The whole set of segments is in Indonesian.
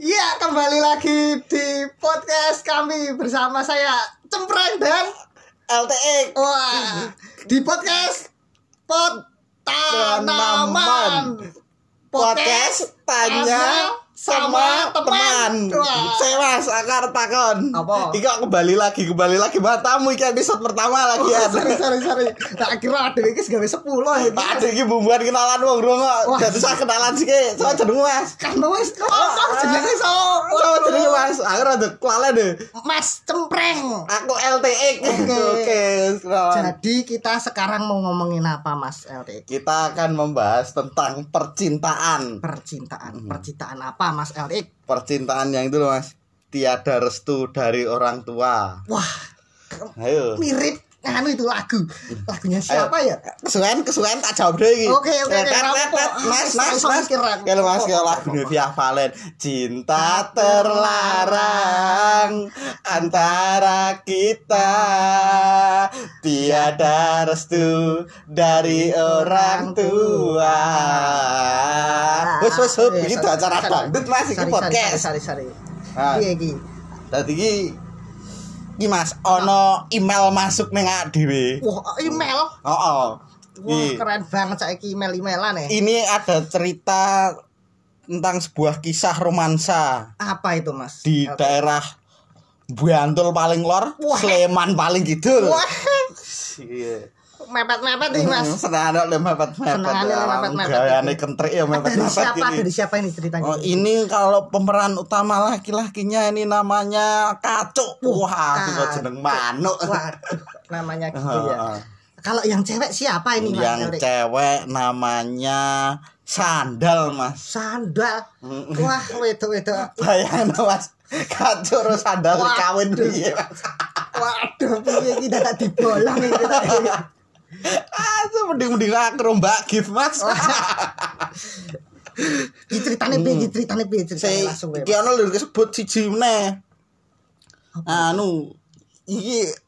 Iya, kembali lagi di podcast kami bersama saya Cempreng dan LTE wah di podcast Pot Tanaman. Tanaman. podcast tanya sama teman. Wah. Sewa akar takon. Apa? Iki kok kembali lagi kembali lagi matamu iki episode pertama lagi Iya, ya. sorry sorry sorry. Tak kira ada iki gawe ya. 10 Pak iki. Ade iki bumbuan kenalan wong rong Wah. kok. Dadi saya kenalan sih ke. Soal jeneng Mas. Kan wis Oh, ah. kok jenenge so. Soal jeneng Oh, Mas. Aku rada kelalen deh. Mas Cempreng. Aku LTE. Oke. Oke, kenalan. Jadi kita sekarang mau ngomongin apa Mas LTE? Kita akan membahas tentang percintaan. Hmm. Percintaan. Percintaan apa Mas LTE? Percintaan yang itu loh, Mas. Tiada restu dari orang tua. Wah, Ayo. mirip anu itu lagu. Lagunya siapa ya? kesuwen kesuwen tak jawab deh iki. Oke, oke, oke, Tet, tet, rampok. tet, Mas mas Iso mas. mikir aku. Kalau mas Rampok, kalau lagu rampok. Novia Valen cinta terlarang antara kita tiada restu dari orang tua. Ah, Wes wes wes Iya, iki sorry, acara sorry. bandut Mas iki Sorry, sorry, podcast. Sorry sorry. Ah. Iya iki. Dadi iki iki Mas ono email masuk ning awak dhewe. Wah, email. Heeh. Wah, Iki. keren banget saiki email-emailan ya. ini ada cerita tentang sebuah kisah romansa Apa itu, Mas? di Oke. daerah Bantul paling lor, Wah. Sleman paling kidul. Wah, Iya. mepet-mepet nih, Hmm, Mas. Senengane oleh mepet-mepet. Senengane oleh Ya, mepet-mepet. Gayane kentrik ya Dari mepet-mepet siapa? ini. Dari siapa ini ceritanya? Oh, ini kalau pemeran utama laki-lakinya ini namanya Kacuk. Wah, aku kok Kacuk. jeneng manuk. Waduh, namanya gitu ya. Heeh. Kalau yang cewek siapa ini, Mas? Ah, Erik? Yang cewek namanya Sandal, Mas. Sandal. Wah, wedok-wedok. Bayangin mas Kacur sandal Waduh. kawin piye mas Waduh, piye iki dadak dibolong iki. Aduh Ah, mending-mending aku rombak gift mas Oh, iya. Diceritane piye? Diceritane piye? Ceritane Hmm. Saya langsung wae. Iki ono lho disebut siji meneh Anu Iki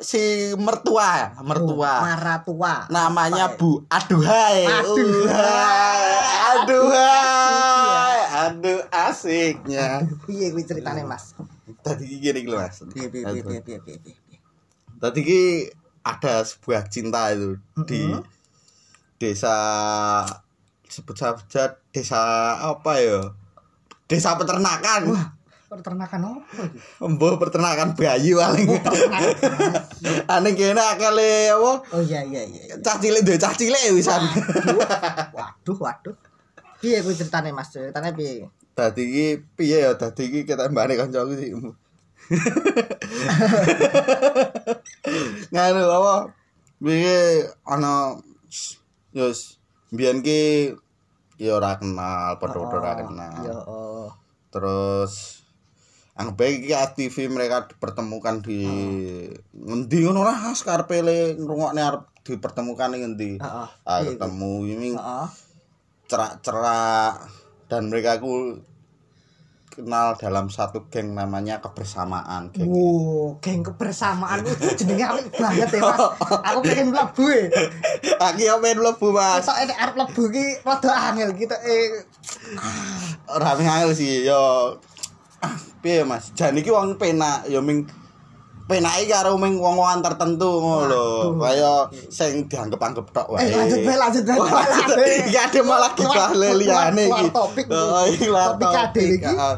Si mertua Oh, Mertua Nah. Maratua. Namanya Bu Aduhai ya? Aduhai. Iya. Aduhai Aduh asiknya Piye kuwi ceritane, Mas? Tadi iki gini lho mas Piye piye piye piye piye piye. piye. Tadi ki ada sebuah cinta itu di desa sebut saja desa apa ya? Desa peternakan. Peternakan opo iki? Embuh peternakan bayi paling. Ane kene akale apa? Oh iya iya iya. Cah cilik duwe cah cilik wisan. Waduh, waduh. Piye kuwi ceritane, Mas? Ceritane piye? Dadi ki piye ya? Dadi ki ketembane kancaku sih. Nganu apa? Piye ana yos mbiyen ki ya ora kenal, padha-padha ora kenal. Ya oh. Terus anggap ae iki TV mereka dipertemukan di Hmm. ngendi ngono lah karepe le ngrungokne arep dipertemukan ning ngendi. Heeh. Ah Iya, ketemu ini Heeh. cerak-cerak dan mereka aku kenal dalam satu geng namanya kebersamaan geng. Wow, geng kebersamaan itu jenenge apik banget ya, Mas. Aku pengen mlebu. ya. Aku yang main lebu mas, Soale nek arep mlebu ki rada angel gitu eh rame angel sih yo. Ah, piye mas, jan iki wong penak yo ming penake karo ming wong-wongan tertentu ngono lho. Kaya sing dianggep-anggep tok wae. Eh, lanjut bae, lanjut bae, Wah, lanjut lanjut bae. bae. Iki ade malah Keluar- gibah leliane keluar- iki. keluar topik. Oh, iki keluar Topik ade topik. iki. Heeh.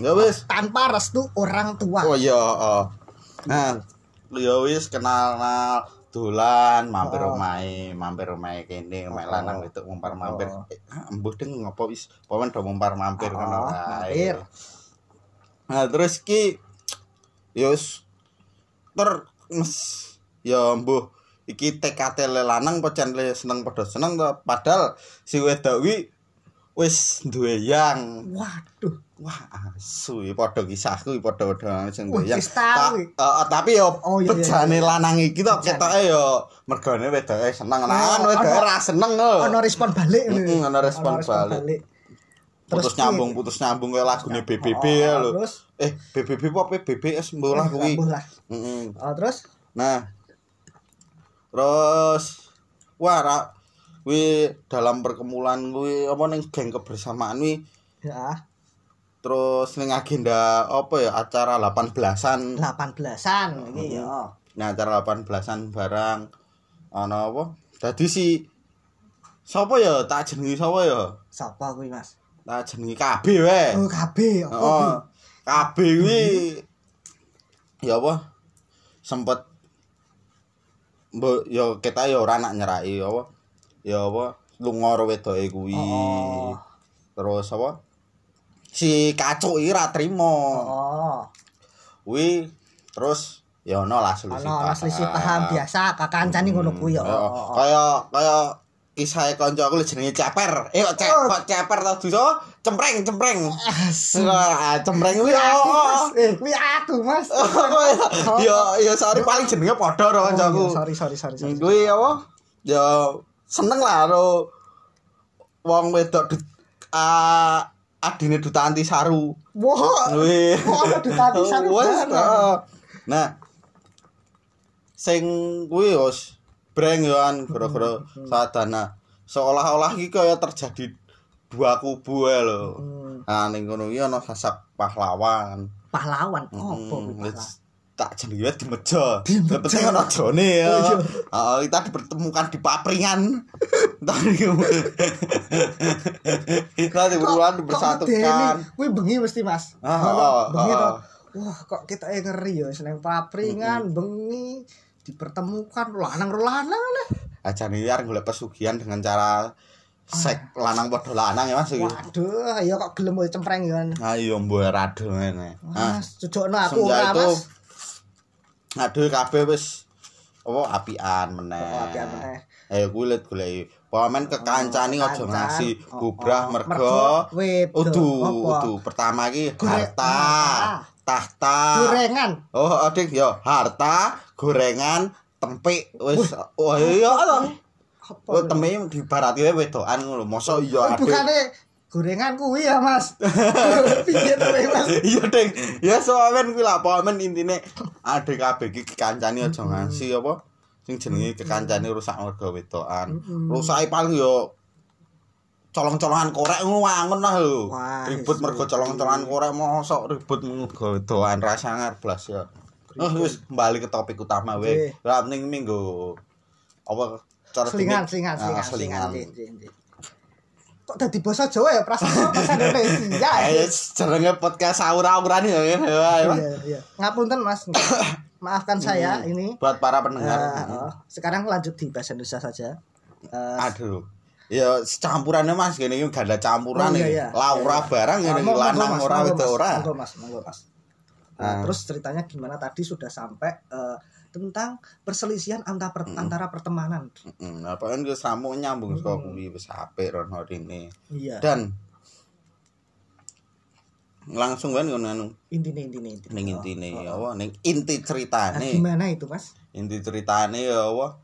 Ya wis, tanpa restu orang tua. Oh iya, oh. Nah, ya wis kenal kenal dolan mampir omahe, mampir omahe kene, omahe lanang wedok mumpar mampir. Eh, ah, Embuh ding ngopo wis pawen do mumpar mampir ngono wae. mampir. Nah, terus ki ya wis ter mes ya embuh iki TKT le lanang pocen le seneng padha seneng to padahal si wedok kuwi wis duwe yang Waduh. Wah, asu iki padha kisahku iki padha-padha sing Wah, goyang. wis tahu Ta- iki. eh, tapi yo Oh, iya, iya, bejane lanang iki tok Bejane. ketoke yo mergane wedoke seneng Oh, lanang wedoke ono- ora seneng lho. Ono respon balik. Mm-mm, lho. ono respon balik. Terus Putus piye? nyambung, putus nyambung kaya lagune BBB Oh, ya lho. terus? Eh, Eh, BBB apa BBS mbolah kuwi. Rambuh lah. Heeh. Oh, terus Nah. Terus wah ra kuwi dalam perkemulan kuwi apa ning geng kebersamaan kuwi ya terus ning agenda apa ya acara 18-an 18-an iki ya nah acara 18-an barang ana apa dadi si sapa ya tak jenengi sapa ya sapa kuwi Mas tak jenengi kabeh wae oh kabeh apa Eh. oh kuwi? kabeh kuwi ya apa sempet mbok ya kita ya ora nak nyerai ya apa ya apa lunga karo wedoke kuwi Oh. terus apa si kacuk iki ra trimo oh kuwi terus ya ono lah selisih ana ana selisih paham biasa kakancane ngono kuwi ya Heeh. Kaya kaya kisah kanca aku lho jenenge ceper. Eh kok ce- Oh. kok ceper to Duso? Cempreng cempreng. Hmm. Asu. Wah, cempreng kuwi Oh, Kuwi ya. aku Mas eh kuwi aku Mas Ya ya sorry paling jenenge padha karo Oh, iya, kancaku. sorry sorry sorry sorry. Hmm, Kuwi apa? Ya seneng lah karo wong wedok dut- a- adine duta anti saru. Wah, Kuwi. kok ana dutati saru Wes, bareng? heeh. Nah. Sing kuwi wis breng yo an gara-gara Hmm. sadana. Seolah-olah iki kaya terjadi dua kubu ae lho. Hmm, Nah ning kono iki ana sasak pahlawan. Pahlawan opo Hmm, Oh, kuwi pahlawan? wis tak jenenge di meja. Di meja. Penting ana jone ya. Oh, iya. Heeh, kita dipertemukan di papringan. Entar niku. Kita dipertemukan dipersatukan. Kuwi bengi mesti, Mas. Ah, Ngono, ah, bengi ah, to. ah. Wah, kok kita ngeri ya seneng papringan bengi dipertemukan lanang ro lanang lah. ajane iki arep golek pesugihan dengan cara sek lanang padha lanang ya Mas iki. Ah. Waduh, ya kok gelem wae cempreng ya. Ah iya mbok rado ngene. Ah, Mas, cocokno aku ora, semenjak itu ah. Mas. aduh kabeh wis apa apian meneh. Oh, apian meneh. Eh kuwi let golek pamen kekancani aja kancan. ngasih Oh, bubrah oh. mergo Mergo wedok. udu Apa? Ah, udu pertama iki Gore- harta tahta Gorengan. Oh, oh, Dik, yo harta gorengan tempik wis oh iya to. Apa? Oh, tempe dibarati wae wedokan ngono. Mosok Oh, iya aduh. Bukane gorengan kuwi ya, Mas. Piye to, Mas? iya ding ya soalnya kuwi lah pomen intine adek kabeh iki kekancani aja ngansi apa sing jenenge kekancani rusak mergo wedokan rusake paling yo colong-colongan korek ngono wangun lah lho Wah, ribut isu. mergo colong-colongan korek mosok ribut mergo wedokan rasa ngerblas ya Oh, wis kembali ke topik utama Oke. we. Lah ning minggu apa cara Selingan, dimik- selingan, selingan, Ah, selingan. selingan. Nggih, nggih, nggih. Kok dadi basa Jawa ya prasasti bahasa Indonesia. Eh, jenenge podcast aura-auran ya. ya, ya. Iya, iya. Ngapunten Mas. Maafkan saya Hmm. ini. Buat para Eh, pendengar. oh, sekarang lanjut di bahasa Indonesia saja. Eh, Aduh. Ya campurannya Mas gini iki ganda Oh, campuran iya, iki. iya. Laura barang eh, ngene iki monggo, Ah, lanang Mas, ora monggo, wedok Mas, ora. monggo, Mas, monggo, Mas. Eh, Ah. terus ceritanya gimana tadi sudah sampai eh, tentang perselisihan antara Hmm. antara pertemanan. Heeh, apa kan ke samu nyambung saka Hmm. kuwi wis apik rono rene. Iya. Dan langsung kan ngono anu Intinya, intinya, intinya. ning Oh, intine oh, ya oh. apa ning inti Nah, ceritane. gimana itu, Mas? Inti ceritane ya apa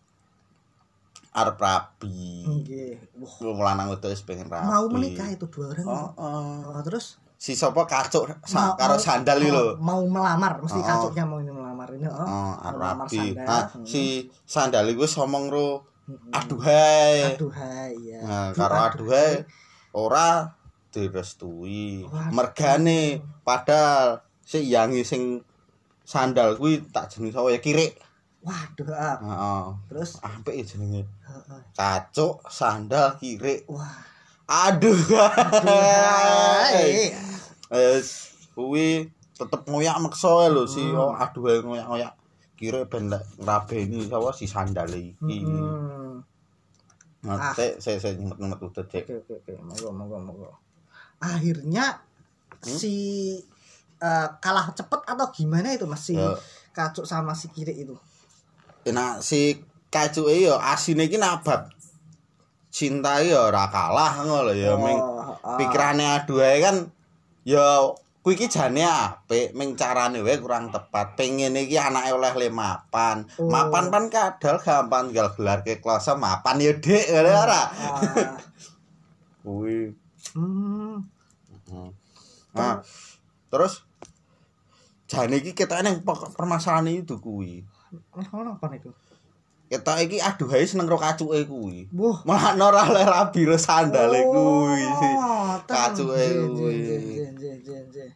arep rabi. Nggih. Wah, Wong lanang wedok wis pengen rabi. Hmm. mau menikah itu dua orang. Oh, oh. Oh, terus Si sapa kacuk Mau- sa- mau- karo sandal iki lho. mau melamar mesti Oh. kacuknya mau ini melamar ini oh, Oh, mau melamar Arabi. sandal Nah, Hmm. si sandal iku ngomong ro Mm-mm. aduhai. aduhai ya Eh. Nah, Aduh, karo aduhai ora direstui. Waduh. Mergane padahal si yangi sing sandal kuwi tak jeneng sapa ya kirik. waduh ah. Heeh. terus Apik ya jenenge. heeh. Cacuk sandal kirik. wah Aduhai. aduhai Wis kuwi tetep ngoyak maksa lho si Hmm. oh, aduhai ngoyak-ngoyak. Kirik ben lek ngrabeni sapa si sandal iki. Hmm. Ah. Mate, saya saya nyemet nyemet udah cek. oke oke oke monggo monggo monggo akhirnya Hmm? si eh, kalah cepet atau gimana itu mas si Ya. kacuk sama si kiri itu Nah si kacuke yo asine iki nabat. Cinta yo ora kalah ngono lho ya ming oh, pikirane aduh ae kan yo kuwi iki jane apik ming carane wae kurang tepat. Pengen iki anake oleh le mapan. Oh. Mapan pan kadal gampang tinggal gelar ke klase mapan yo dik ngono ora. ah. Kuwi. Hmm. Nah, terus Eh, jane iki ketane permasalahan itu kuwi. Ini apa itu? kita iki aduhai seneng ro kacuke kuwi Wah. malah ora oleh rabi ro sandale kuwi Oh, terus. Kacuke Jen, jen, kuwi. jen, jen, jen, jen, jen.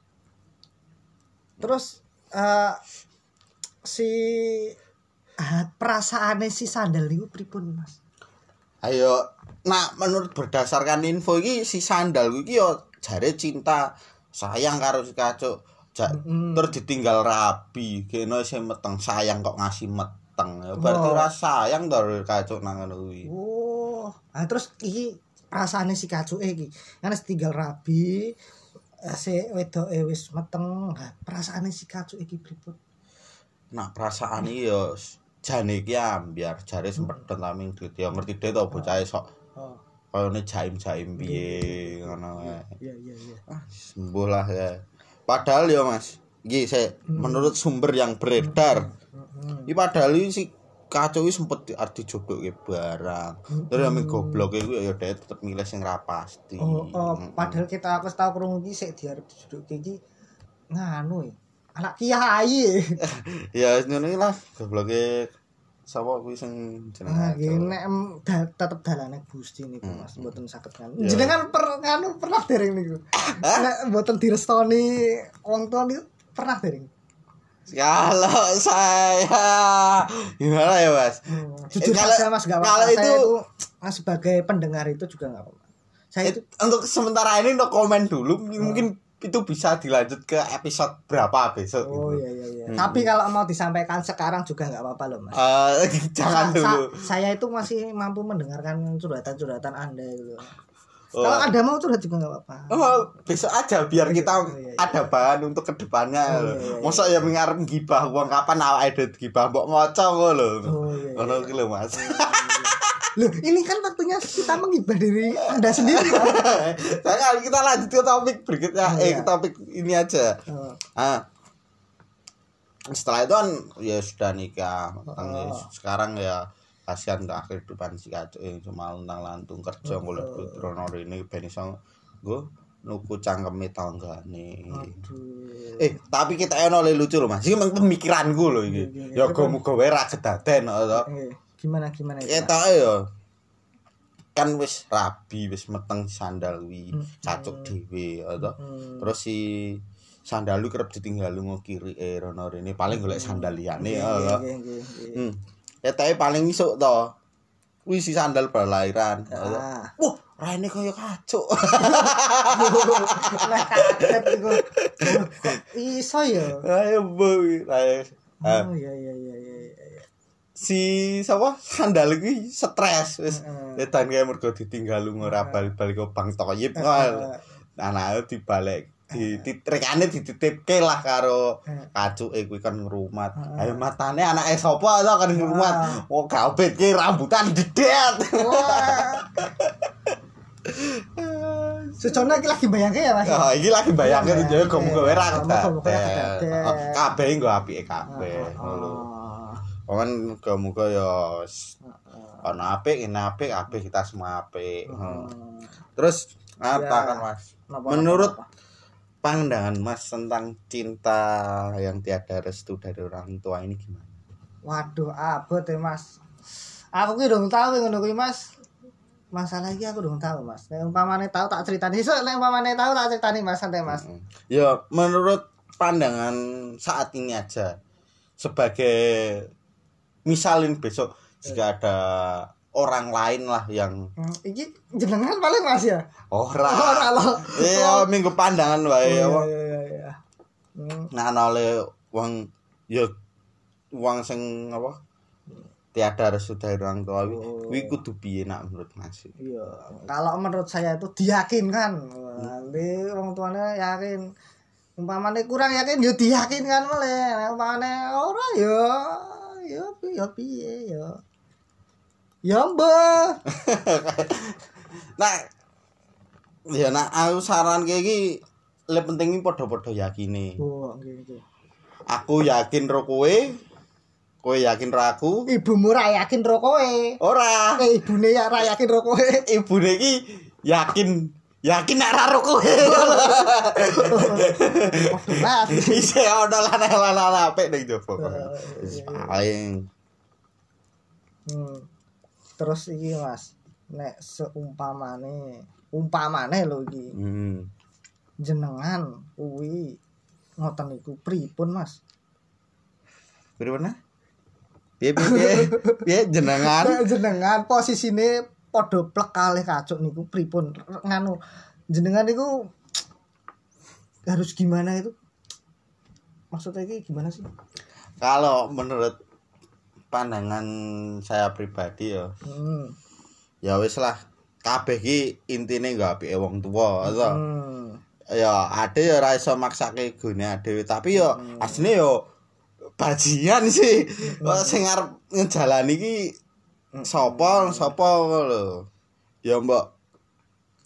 Terus eh si ah, perasaannya si sandal niku pripun, Mas? ayo nah menurut berdasarkan info iki si sandal kuwi iki yo jare cinta sayang karo si kacuk ja, Mm. terus ditinggal rabi kene sing meteng sayang kok ngasih meteng ya berarti Oh. ora sayang to ro kacuk nang ngono kuwi Oh, ah, terus iki perasaannya si kacuke iki. Karena tinggal rabi eh, si wedoke wis meteng. Ah, perasaannya si kacuke iki pripun? nah perasaan iki yo jane iki ambiar jare sempet taming duit yo ngerti dhek to bocah sok Oh, koyone jaim-jaim piye ngono kae iya iya iya. sembuh lah ya padahal ya mas iki saya menurut sumber yang beredar Mm-mm. iki padahal iki si kacau iki sempet di arti barang terus yang goblok itu ya dia tetep milih sing ra pasti Oh, oh, hmm, padahal kita aku tahu kurung iki sik diarep duduk iki nganu ya. Anak kiai. e. ya ngono iki lah gobloke sapa kuwi sing Nah, jenenge iki Kacau. nek em, da, tetep dalane Gusti niku Mas, mboten saged kan. Hmm, Ya. Jenengan per nganu pernah dereng niku. Nek mboten direstoni wong tua niku pernah dereng. kalau saya gimana ya mas Hmm. Jujur Eh, kalau- saja Mas gak kalau apa-apa. Saya itu- itu Mas, sebagai pendengar itu juga gak apa-apa. Saya Eh, itu untuk sementara ini untuk komen dulu Hmm. mungkin itu bisa dilanjut ke episode berapa besok Oh gitu. iya iya iya. Hmm. Tapi kalau mau disampaikan sekarang juga nggak apa-apa loh, Mas. Eh, Sa- sa- jangan dulu. saya itu masih mampu mendengarkan curhatan-curhatan Anda itu. Oh. Kalau Anda mau curhat juga nggak apa-apa. Oh, besok aja biar kita Oh, iya, iya. ada bahan untuk kedepannya Oh, lho. iya, iya, Mosok ya mengarep gibah wong kapan awake dhewe gibah mbok ngoco kok lho. Oh, iya, iya. Ngono ki lho Mas. Loh, ini kan waktunya kita menghibah diri Anda sendiri. Pak. Sekarang Nah, kan kita lanjut ke topik berikutnya. Oh, eh iya. ke topik ini aja. Oh, Ah. Setelah itu kan ya sudah nikah. Tentang ya, Oh. sekarang ya kasihan ke kehidupan si kacuk eh, cuma lantang lantung kerja Oh, golek duit rono rene ben iso nggo nuku cangkeme tanggane. Oh, aduh. Eh, tapi kita ono le lucu loh Mas. Iki meng pemikiranku loh iki. Iya, iya, Ya muga wae ra kedaden oh, kok, to. Eh, gimana gimana? gimana? Ketoke ya eh, kan wis rabi, wis meteng sandal kuwi, cacuk dhewe kok, to. Hmm. Terus si sandal kuwi kerep ditinggal lunga kiri eh rono rene paling golek Hmm. sandal liyane Iya, kok, to. Nggih, nggih, nggih, nggih. Hmm. Ketoke paling isuk to. Kuwi si sandal berlairan. kok, to. Ah. Wah, rene kaya kacuk. Nah, kaget iku. Oh, kok Iso ya. Ayo, Bu. Ayo. Ah, Oh iya iya iya iya. iya. si sapa sandal iki stres wis Heeh. edan kae mergo ditinggal ora balik-balik ke Bang Toyib Heeh. anake dibalik dititrekane dititipke lah karo Heeh. kacuke kuwi kan ngrumat ayo matane anake sapa to kan ngrumat oh gabet ki rambutan dedet Wah. Sejona iki lagi bayangke ya Mas. Oh, iki lagi bayangke Iya, ya gomu gowe gomu-gowe ra ra kedaten. kedaten. Oh, Kabeh nggo apike kabeh ah, ngono. Oh. Kan muga ya s- ah, ana apik, ini apik, apik kita semua apik. Heeh. Hmm. Terus apa Ya. kan Mas? Napa, Menurut napa, pandangan Mas tentang cinta yang tiada restu dari orang tua ini gimana? Waduh, abot ya Mas. Aku ki dong tahu ngono kuwi Mas. Masalah iki aku dong tahu Mas. Nek umpamane tahu tak critani. Sesuk nek umpamane tahu tak critani Mas santai Mas. Mm. Ya, menurut pandangan saat ini aja sebagai misalin besok Eh. jika ada orang lain lah yang Hmm, Iki jenengan paling Mas ya. ora. Ora lo. Iya, minggu pandangan wae. Iya wong. iya iya, iya. Hmm, Nah, oleh wong ya wong sing apa? Tiada restu dari orang tua kuwi Oh. kuwi kudu piye nak menurut Mas? Iya, kalau menurut saya itu diyakinkan. Nanti orang tuanya yakin. Umpamane kurang yakin ya diyakinkan malah. Nek Umpamane ora ya ya pi- ya piye ya. Ya mbah. Nah, ya nah aku saran kayak gini, le pentingin podo-podo yakini. Oh, nggih nggih. Aku yakin ro kowe, kowe yakin ro aku. Ibumu ra yakin ro kowe. Ora, Eh ibune ya ra yakin ro kowe. ibune iki yakin yakin nek ra ro kowe. Waduh, Mas. Isih ono lanang-lanang apik ning jopo. Wis Paling Hmm. Terus iki Mas, nek seumpamane, umpamane lho iki Hmm. jenengan kuwi ngoten niku pripun Mas? Pripun? Piye piye piye? Piye jenengan? Nek jenengan posisine padha plek kalih kacuk niku pripun R- nganu jenengan niku harus gimana itu? Maksudnya iki gimana sih? Kalau menurut pandangan saya pribadi ya, Hmm. ya wis lah kabeh ki intine gak apike wong tua to. Hmm. Ya ade ya ora iso maksake gone ade tapi ya asline yo bajian sih. Kok sing arep ngejalani ki sapa sapa lho. Ya mbok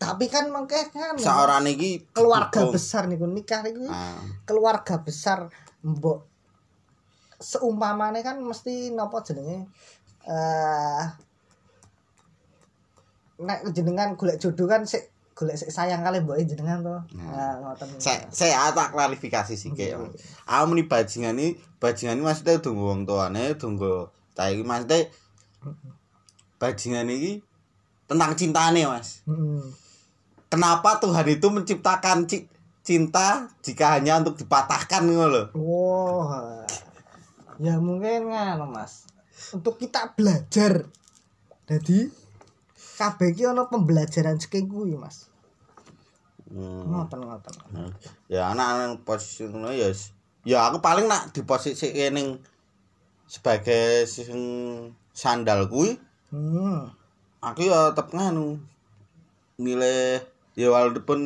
Tapi kan mengke kan saorane ki keluarga didukung. besar niku nikah niku Ah, keluarga besar mbok seumpamane kan mesti napa jenenge eh nek jenengan golek jodoh kan sik golek sik sayang kali mboke jenengan to. Hmm. Nah, ngoten. saya saya tak klarifikasi sithik. Mas. Aku muni bajingan iki, bajingan iki maksudnya tunggu wong tuane, tunggu ta iki maksudnya bajingan iki tentang cintane, Mas. Heeh. Kenapa Tuhan itu menciptakan ci- cinta jika hanya untuk dipatahkan ngono lho. Wah. Ya mungkin ngono, Mas. Untuk kita belajar. Jadi kabeh iki ana pembelajaran saking kuwi, Mas. Hmm. Ngoten ngoten. Ya anak nang posisi ngono ya s- ya aku paling nak di posisi ning sebagai sing sandal kuwi Hmm. aku ya tetep nganu milih ya walaupun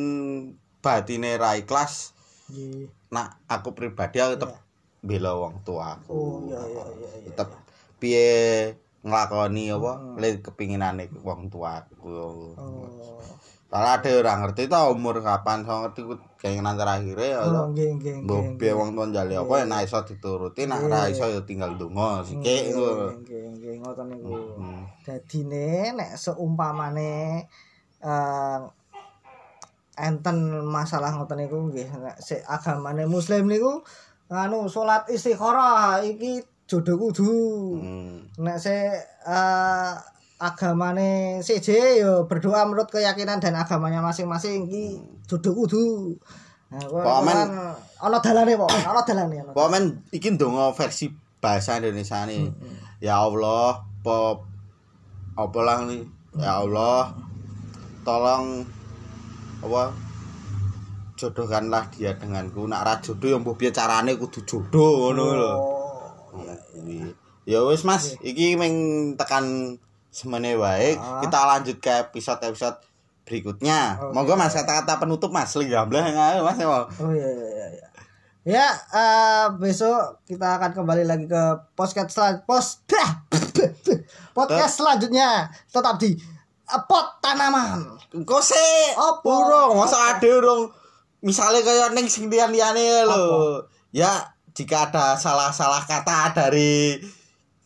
batine ra ikhlas Nggih. nak aku pribadi aku tetep bela wong tua aku Oh, iya iya iya. iya. Hmm. tetep piye nglakoni apa le kepinginane wong tua aku Oh. Soalnya ada orang ngerti tau umur kapan so ngerti ku keinginan terakhirnya ya Oh, nggih nggih nggih. Mbok piye wong tuwa njali apa ya nek iso dituruti nek ora iso ya tinggal donga sithik Nggih, ngono. nggih, nggih, ngoten niku. Hmm. Dadine nek seumpamane eh enten masalah ngoten niku nggih nek sik agamane muslim niku anu salat istikharah iki jodoh kudu. Hmm. Nek sik eh agamane CJ ya berdoa menurut keyakinan dan agamanya masing-masing iki jodoh kudu. Nah, Mm-hmm. Pak Amen. ana dalane kok, ana dalane. ana Komen iki ndonga versi bahasa Indonesia nih. Ya Allah, pop apa lah nih? Ya Allah, tolong apa jodohkanlah dia denganku. Nak ra jodoh ya mbuh piye carane kudu jodoh ngono lho. Oh. Iya. Ya wis Mas, iki ming tekan semene wae. Kita lanjut ke episode-episode berikutnya. Monggo Mas kata-kata penutup Mas, lenggamblah ngae Mas. ya. Oh iya iya iya. iya. Ya, eh, besok kita akan kembali lagi ke podcast selan pos podcast selanjutnya tetap di eh, pot tanaman. Engko sik Apa? urung, masa ada urung misalnya kayak neng sing liyan-liyane lho. Ya jika ada salah-salah kata dari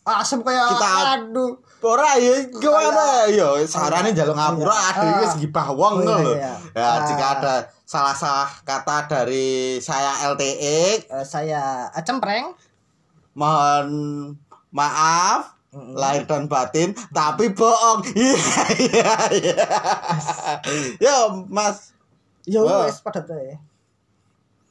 Asem kayak Kita- aduh. ora ya gimana ya sarane njaluk ngapura Ah. ada iki gibah Oh, wong iya, lho. iya. Ya Ah. jika ada salah-salah kata dari saya LTX Eh, saya eh, cempreng. mohon maaf Hmm. lahir dan batin tapi bohong iya iya iya yo mas Ya Wah. wis padha ya.